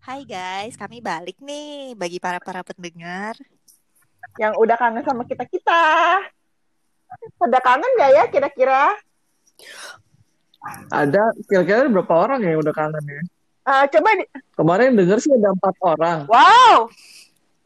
Hai guys, kami balik nih bagi para-para pendengar. yang udah kangen sama kita kita. Pada kangen gak ya kira-kira? Ada kira-kira berapa orang ya yang udah kangen ya? Eh, coba di- Kemarin denger sih ada empat orang. wow.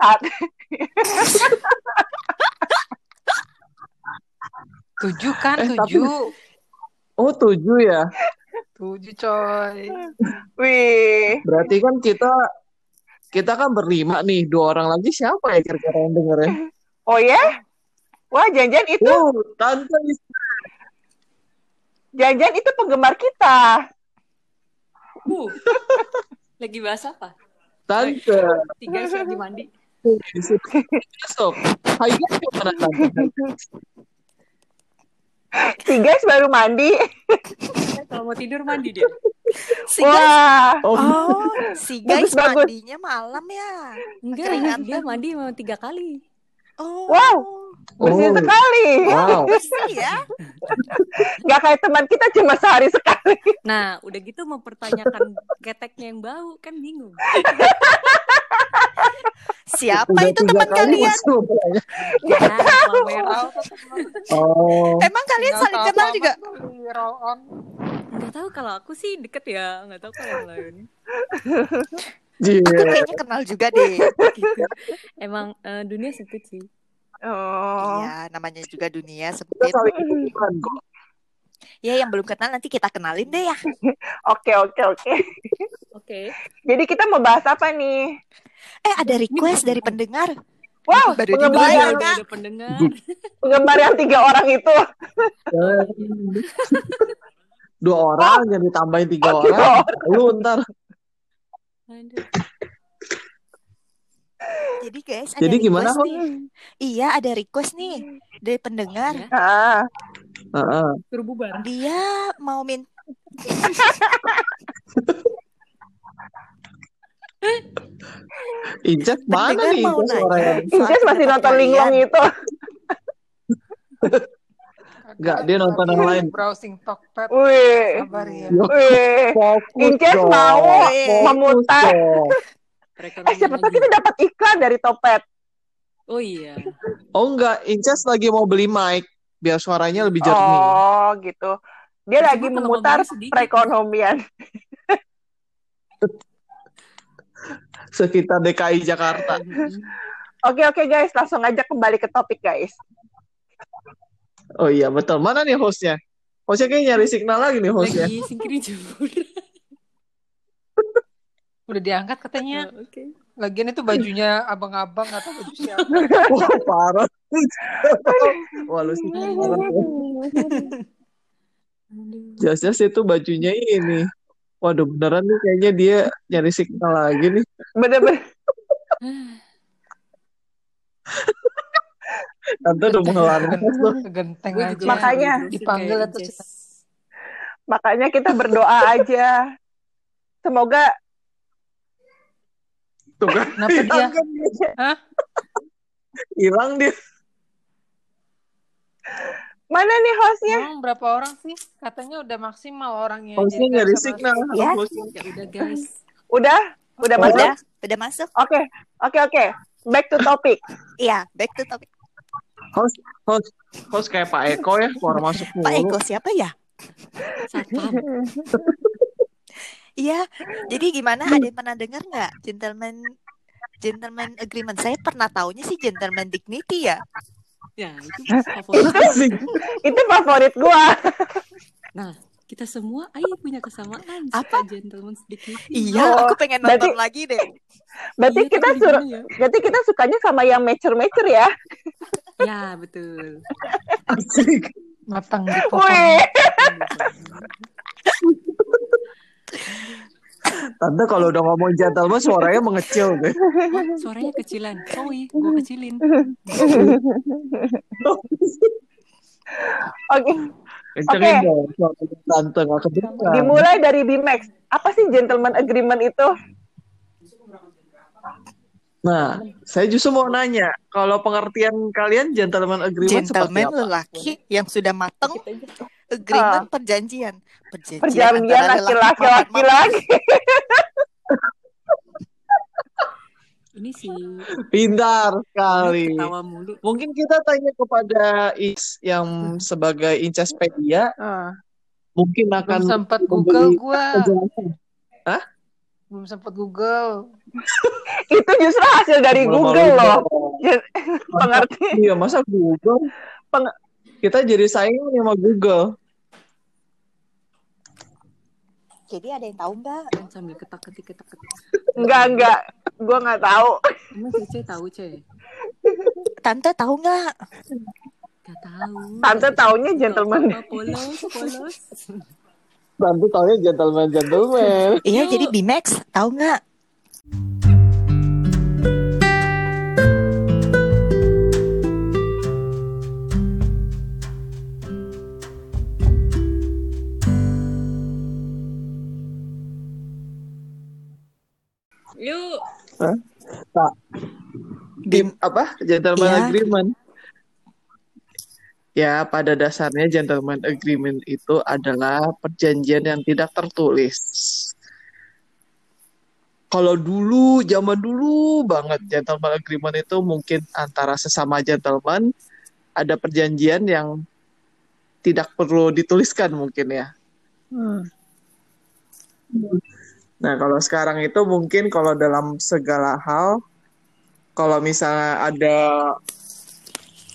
Saat- Tujuh kan, Eh, tapi- tujuh. Oh tujuh ya. Tujuh coy. Wih, Berarti kan kita kita kan berlima nih. Dua orang lagi siapa ya kira-kira yang denger ya? oh ya? Wah, janjian itu, Wow, tante Is- janjian itu penggemar kita. Uh, lagi bahas apa? tante. Tiga sih lagi mandi. Besok. Hai guys, gimana tante? Si guys baru mandi. Eh, Kalau mau tidur mandi dia. Si guys, Wah, Oh, oh, si guys Bagus, bagus. mandinya malam ya. Enggak, Keringatan. dia mandi memang tiga kali. Oh, Wow. bersih oh, sekali. wow. bersih ya. Gak kayak teman kita cuma sehari sekali. Nah, udah gitu mempertanyakan keteknya yang bau, kan bingung. Siapa Udah itu tiga teman kali kalian? masuk. Nah, pamer. Merah. Oh, Emang kalian Iya, saling kenal juga? Roll on. Enggak tahu kalau aku sih deket ya, enggak tahu kalau yang lain. Aku iya. kayaknya kenal juga deh. Gitu. Emang eh, dunia sempit sih. Oh. Iya, namanya juga dunia Kita sempit. saling ketemuan kok. Ya, yang belum kenal nanti kita kenalin deh ya. Oke, oke, oke. Oke. Jadi kita mau bahas apa nih? Eh, ada request dari pendengar. Wow, Baru penggemar dibilang. yang, Udah, udah pendengar. penggemar yang tiga orang itu. Dua orang yang ditambahin tiga iya. Oh, tiga orang. Lu ntar. Aduh. Jadi guys, ada Jadi gimana, request nih. Iya, ada request nih dari pendengar. Ya, Ah. Heeh. suruh bubar. Dia mau minta Ijaz mana pendengar nih mau Ijaz orangnya? nanya. soal Ijaz masih pendapat nonton kalian. linglong itu. Enggak, dia nonton yang lain. Browsing Tokped. Wih, Sabar ya. Yo, wih. Fokus Ijaz dong. mau Fokus memutar. dong. Eh, siapa tahu kita Rekomendasi. dapat iklan dari Topet. Oh iya. Oh enggak, Ijaz lagi mau beli mic biar suaranya lebih jernih. Oh, gitu. Dia Cuma lagi kalau memutar ngomongnya sedikit. perekonomian. Sekitar DKI Jakarta. Mhm. Oke, oke guys, langsung aja kembali ke topik guys. Oh iya, betul. Mana nih hostnya? Hostnya kayaknya nyari signal lagi nih hostnya. Lagi singkirin jemur. Udah diangkat katanya. Oh, Oke. Lagian itu bajunya abang-abang atau baju siapa. Wah, parah. Wah, lu sih parah. Aduh. Jas-jas itu bajunya ini. Waduh, beneran nih kayaknya dia nyari signal lagi nih. Bener-bener. Tante udah menghela nafas loh. Genteng Gua aja. juga Makanya. berusin Dipanggil kayak atau Jess. Makanya kita berdoa aja. Semoga Tuh kan, Kenapa dia? Iya. Oh, hilang kan dia. Hah? Hilang dia. mana nih Iya. hostnya? Emang berapa orang sih? Katanya udah maksimal orangnya. Hostnya Jadi nggak nyari bisa signal. masuk. Ya. Hostnya. Ya udah guys. Udah, udah Udah. masuk. Udah, udah masuk. Oke, oke, oke. Back to topic. Iya, back to topic. Host, host, host kayak Pak Eko ya, keluar masuk Pak mulu. Eko siapa ya? Satpam. Iya. Jadi gimana? Ada yang pernah dengar nggak gentleman gentleman agreement? Saya pernah taunya sih gentleman dignity ya. Ya itu favorit. Itu favorit gua. Kita semua ayo punya kesamaan. Apa? Suka gentleman sedikit. Iya, aku pengen berarti- nonton lagi deh. Berarti Iya, kita tapi suruh gimana ya? berarti kita sukanya sama yang mature-mature ya. Ya betul. Asik. Matang gitu. Wih. Tante kalau udah ngomong gentleman suaranya mengecil deh. Wah, suaranya kecilan. Sorry, gue kecilin. Oke, Nah. Oke. Kencengin dong suaranya tante nggak kedengar. dimulai dari Bimax. Apa sih gentleman agreement itu? Nah, saya justru mau nanya, kalau pengertian kalian gentleman agreement Gentleman seperti apa? lelaki yang sudah mateng agreement perjanjian perjanjian Perjanjian antara lelaki laki-laki dan perempuan. laki-laki. ini sih. Pintar sekali. Ketawa mulu. Mungkin kita tanya kepada Is yang sebagai Incespedia, Ah, mungkin belum akan sempat membeli Google gua. penjelasan. Belum sempat Google. Itu justru hasil dari Malu-malu Google loh. dong. Pengerti. Iya, masa Google? Peng- Kita jadi saingan sama Google. Jadi ada yang tahu nggak? Kan sambil ketak-ketik ketak-ketik. Enggak, enggak. Gue nggak tahu. Emang Cece tahu, Ce? Tante tahu nggak? Gak tahu. Tante taunya Gak gentleman. apa-apa, Polos, polos. Nanti taunya gentleman-gentleman. Iya, jadi Bimax tahu nggak? Yuk. Di, apa? Gentleman Iya. agreement. Ya, pada dasarnya gentleman agreement itu adalah perjanjian yang tidak tertulis. Kalau dulu, zaman dulu banget gentleman agreement itu mungkin antara sesama gentleman ada perjanjian yang tidak perlu dituliskan mungkin ya. Nah, kalau sekarang itu mungkin kalau dalam segala hal, kalau misalnya ada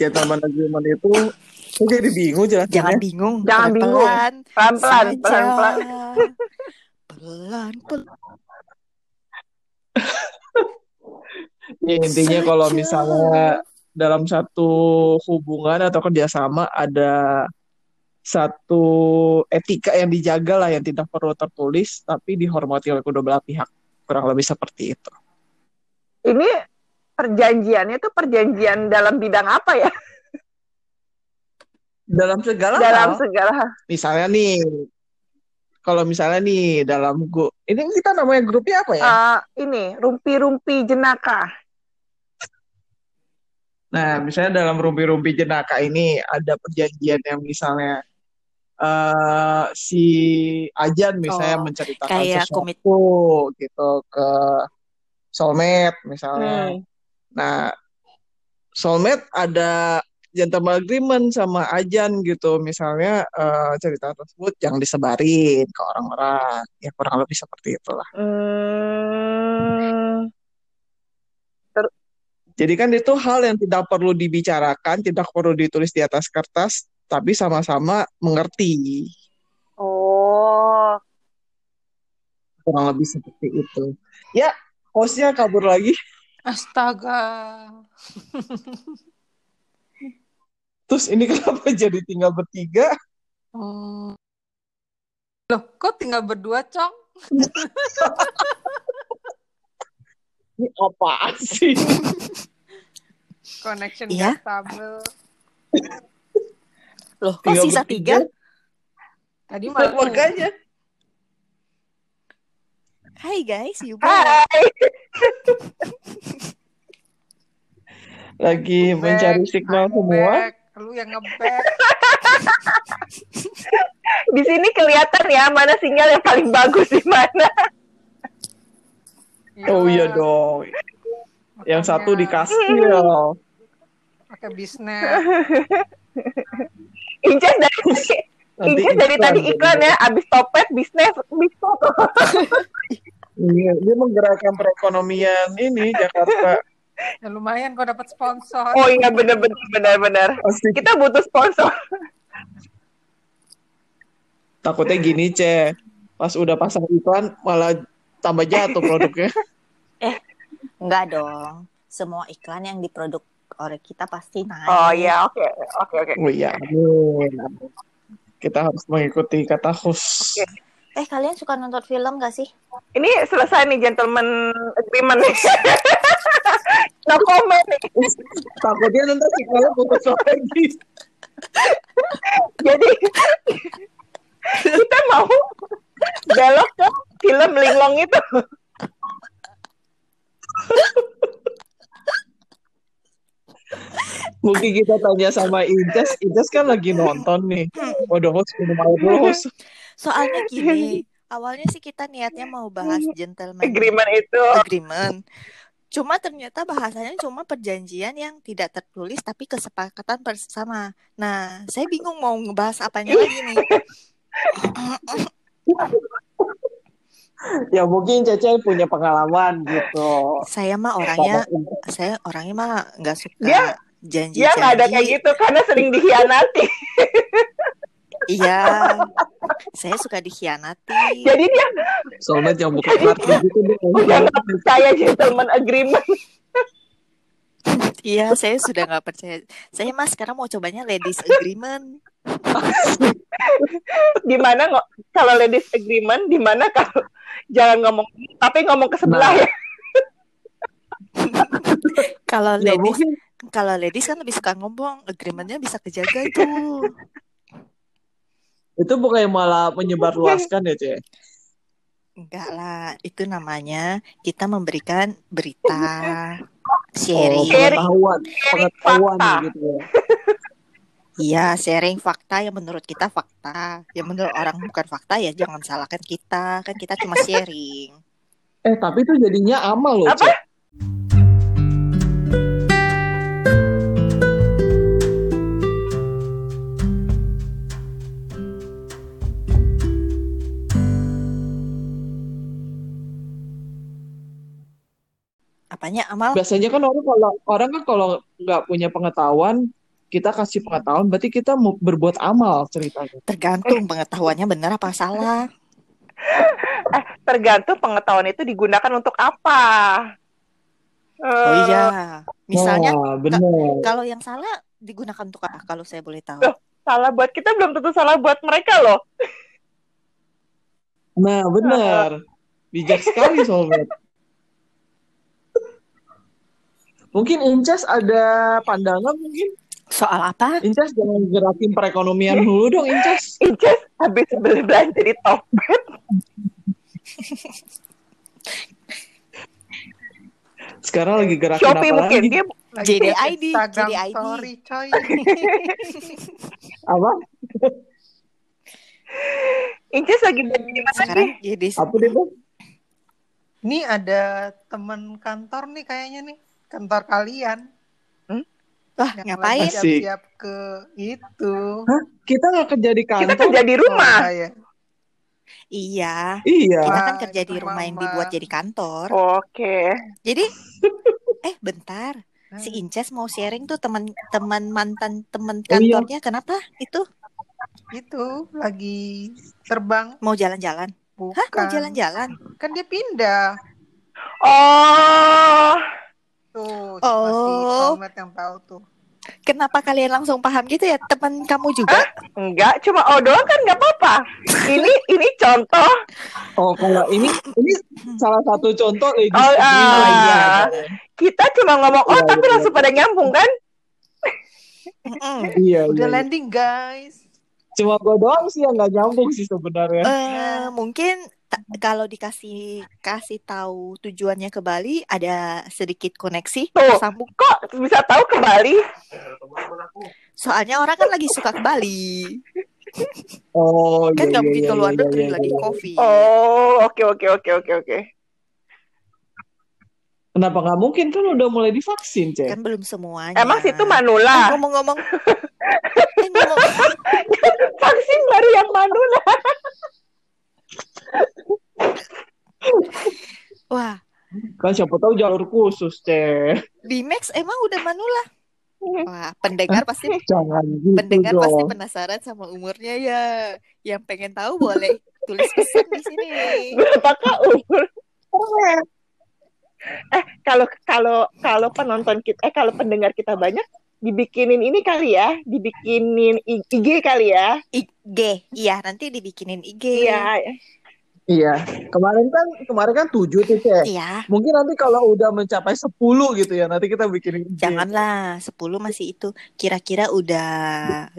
gentleman agreement itu, saya jadi bingung Jangan jelasinnya. bingung. Jangan bingung. Pelan-pelan Pelan-pelan, saja. pelan-pelan. Pelan, pelan. Ya, intinya kalau misalnya dalam satu hubungan atau kerjasama ada satu etika yang dijaga lah yang tidak perlu tertulis tapi dihormati oleh kedua belah pihak kurang lebih seperti itu. Ini perjanjiannya tuh perjanjian dalam bidang apa ya? Dalam segala hal. Dalam segala hal. misalnya nih kalau misalnya nih dalam grup ini kita namanya grupnya apa Ah. ya? Eh, ini rumpi-rumpi jenaka. Nah, misalnya dalam rumpi-rumpi jenaka ini ada perjanjian yang misalnya eh si Ajan misalnya Oh, menceritakan kayak sesuatu komit- gitu ke soulmate misalnya. Hmm. Nah, soulmate ada gentleman agreement sama Ajan gitu. Misalnya eh, cerita tersebut jangan disebarin ke orang-orang. Ya kurang lebih seperti itulah. Hmm. Jadi kan itu hal yang tidak perlu dibicarakan, tidak perlu ditulis di atas kertas, tapi sama-sama mengerti. Oh, Kurang lebih seperti itu. Ya, hostnya kabur lagi. Astaga. Terus ini kenapa jadi tinggal bertiga? Hmm. Loh, kok tinggal berdua, Cong? Ini apaan sih? Connection Iya. gak stabil. Loh, kok Tinggal sisa tiga? Tadi Nah, malu. makanya. Hai guys, you back. hai. Lagi Back, mencari signal I'm semua. back. Lu yang ngeback. Di sini kelihatan ya mana sinyal yang paling bagus di mana. Oh iya dong. Yang satu di Makanya kastil. Pakai bisnis. Inces dari tadi, Nanti Inces dari tadi iklan ya, abis topet bisnis, bisnis. Iya, dia menggerakkan perekonomian ini Jakarta. Ya, lumayan kok dapat sponsor. Oh iya benar-benar benar-benar. Pasti Kita butuh sponsor. Takutnya gini, Ce. Pas udah pasang iklan malah tambah jatuh produknya. Enggak dong. Semua iklan yang diproduk oleh kita pasti naik. Oh iya, oke, oke, oke. Oh iya, amin. Kita harus mengikuti kata host. Eh, kalian suka nonton film gak sih? Ini selesai nih gentleman agreement nih. no comment nih. Takutnya nanti signalnya putus lagi. Jadi kita mau belok ke film linglong itu. Mungkin kita tanya sama Inces. Inces kan lagi nonton nih. Waduh, host minum air dulu, host. Soalnya Iya. gini, awalnya sih kita niatnya mau bahas gentleman Agreement itu. agreement. Cuma ternyata bahasanya cuma perjanjian yang tidak tertulis tapi kesepakatan bersama. Nah, saya bingung mau ngebahas apanya lagi nih. Ya mungkin Cece punya pengalaman gitu. Saya mah orangnya, saya orangnya mah nggak suka Dia- janji-janji. Dia nggak ada kayak gitu karena sering dikhianati. Iya. Saya suka dikhianati. Ya. Jadi dia Soalnya yang buka kartu gitu deh. udah nggak percaya gentleman agreement. Iya, saya sudah nggak percaya. Saya mas sekarang mau cobanya ladies agreement. Gimana nggak kalau ladies agreement? Dimana kalau jangan ngomong tapi ngomong ke sebelah ya? Kalau Ya ladies, mungkin kalau ladies kan lebih suka ngomong, agreementnya bisa kejaga tuh. itu bukan yang malah menyebar luaskan ya Cece. Enggak lah, itu namanya kita memberikan berita, Oh, sharing. pengetahuan, pengetahuan Iya, fakta. gitu ya. Iya, sharing fakta yang menurut kita fakta, yang menurut orang bukan fakta ya jangan salahkan kita, kan kita cuma sharing. Eh tapi itu jadinya amal loh Apa? Cece. Apanya amal? Biasanya kan orang kalau orang kan kalau nggak punya pengetahuan kita kasih pengetahuan berarti kita mau berbuat amal ceritanya. Tergantung pengetahuannya benar apa salah. Tergantung pengetahuan itu digunakan untuk apa. Oh Eh, iya, Oh. misalnya Wah, bener. kalau yang salah digunakan untuk apa? Kalau saya boleh tahu. Loh. salah buat kita belum tentu salah buat mereka loh. Nah, benar. Bijak sekali sobat. Mungkin Inces ada pandangan mungkin Soal apa? Inces jangan gerakin perekonomian dulu dong Inces. Inces habis beli belanja di Tokped. Sekarang lagi gerakin Shopee apa mungkin lagi? dia JDID, Instagram JDID. story, coy. Apa? Inces lagi belanja di mana nih? Sekarang jadi Apa dia tuh? Ini ada temen kantor nih kayaknya nih. Kantor kalian. wah Yang ngapain? lagi Siap-siap ke itu. Kita nggak kerja di Kita kantor. kerja di rumah. Oh, iya. Iya, Iya. kita kan Wah, kerja itu di rumah yang mama. dibuat jadi kantor. Oke. Jadi, eh bentar, Nah, si Hmm. Inces mau sharing tuh teman-teman mantan teman Oh, iya. kantornya. Kenapa? Itu Itu lagi terbang mau jalan-jalan? bukan. Hah, mau jalan-jalan? Kan dia pindah. Oh, Tuh, Oh. masih Komet yang tahu tuh. Kenapa kalian langsung paham gitu ya? Teman kamu juga? enggak cuma oh doang kan nggak apa-apa. Ini ini contoh. Oh, kalau ini ini salah satu contoh ladies Oh, agreement. ah. Kita cuma ngomong oh Iya, tapi iya, langsung pada nyambung kan? Mm-mm. Iya, Udah iya. landing, guys. Cuma gue doang sih yang nggak nyambung sih sebenarnya. eh mungkin ta- kalau dikasih kasih tahu tujuannya ke Bali ada sedikit koneksi Tuh. Oh. sambung. Kok bisa tahu ke Bali? Soalnya orang kan lagi suka ke Bali. Oh, Kan iya, nggak iya, mungkin iya, ke luar iya, negeri iya, lagi iya. COVID. Oh, oke oke oke oke oke. Kenapa nggak mungkin kan udah mulai divaksin, Cek? Kan belum semuanya. Emang situ Eh, Manula. ngomong-ngomong. eh, ngomong Vaksin baru yang Manula. Wah, Kan siapa tahu jalur khusus, Ceh. Bimex emang udah manula. Wah, pendengar pasti Jangan gitu pendengar dong. pasti penasaran sama umurnya ya. Yang pengen tahu boleh tulis pesan di sini. Berapakah umur? Eh, kalau kalau kalau penonton kita eh kalau pendengar kita banyak dibikinin ini kali ya, dibikinin I- IG kali ya. IG. Iya, nanti dibikinin IG. Iya, Iya. Kemarin kan kemarin kan 7 tuh, Ceh. Iya. Mungkin nanti kalau udah mencapai 10 gitu ya, nanti kita bikin IG. Janganlah, 10 masih itu. Kira-kira udah 50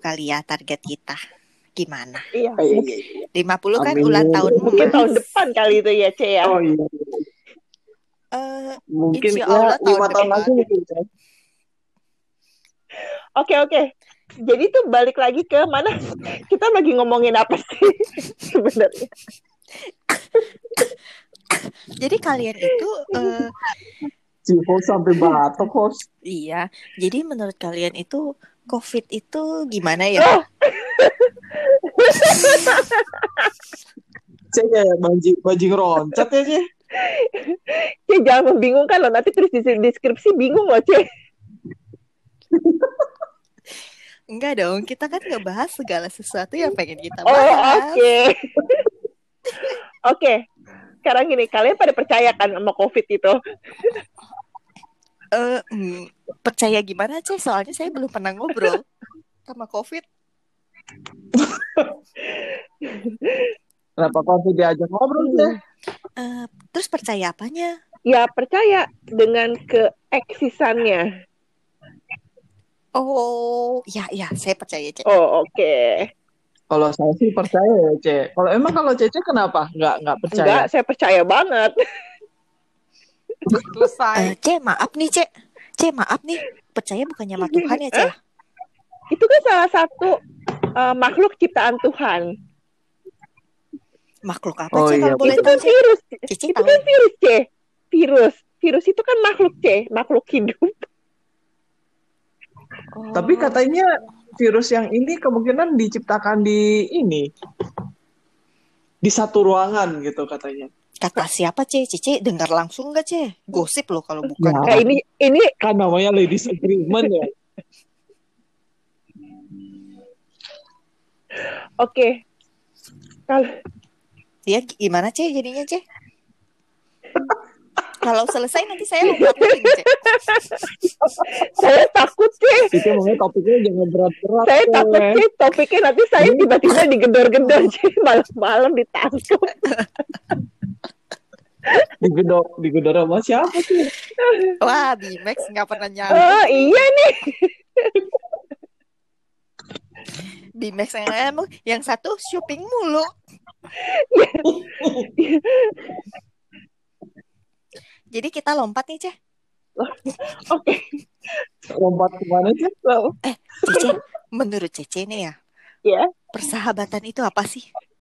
kali ya target kita. Gimana? iya. Iya, iya, iya. 50 kan Amin. ulan tahun Mungkin emas. tahun depan kali itu ya, Ce ya. Oh iya. Eh, Mungkin Insya ya Allah 5 tahun, tahun depan. lagi gitu, mungkin, Ceh. Oke, oke. Jadi tuh balik lagi ke mana? Kita lagi ngomongin apa sih sebenarnya? Jadi kalian itu eh, Si host sampai batuk host. iya. Jadi menurut kalian itu COVID itu gimana ya? Cek ya banjing banjing roncat ya sih. Cie, jangan membingungkan loh. Nanti terus di deskripsi bingung loh, Cie. Enggak dong, kita kan ngebahas segala sesuatu yang pengen kita Oh, bahas. oke. oke. Sekarang gini, kalian pada percaya kan sama COVID itu? Eh, hmm, percaya gimana sih? Soalnya saya belum pernah ngobrol sama COVID. Kenapa kau tidak diajak ngobrol sih? Eh, terus percaya apanya? Ya, percaya dengan keeksisannya. Oh, ya ya, saya percaya Cek. Oh, oke. Kalau saya sih percaya ya Cek. Kalau emang kalau Cece kenapa? Nggak nggak percaya. Enggak, saya percaya banget. Eh, selesai Cek, maaf nih Cek. Cek, maaf nih. Percaya bukannya sama Tuhan ya, Cek? Itu kan salah satu eh, makhluk ciptaan Tuhan. Makhluk apa? Oh Cek, iya. kalau boleh itu tahu, kan Cek. virus. Cici Itu tahu. kan virus, C. Virus. Virus itu kan makhluk, C. Makhluk hidup. Tapi katanya virus yang ini kemungkinan diciptakan di ini di satu ruangan gitu katanya. Kata siapa, Ce? Cici dengar langsung nggak, Ce? Gosip loh kalau bukan. Ya. Nah, ini ini Kan namanya ladies agreement ya. oke. Kalau Ya, gimana, Ce? Jadinya, Ce? kalau selesai nanti saya lompat lagi, Ce. saya takut, C. Itu makanya topiknya jangan berat-berat. Saya Cek. takut, C. Topiknya nanti saya tiba-tiba digedor-gedor, C. Malam-malam ditangkap. Digedor, digedor sama siapa sih? Wah, Bimex nggak pernah nyambung. Oh, iya nih. Bimex yang emang yang satu shopping mulu. Jadi kita lompat nih, Ceh. Oke. Lompat kemana sih? Cece, menurut Cece nih ya. Iya. Persahabatan itu apa sih?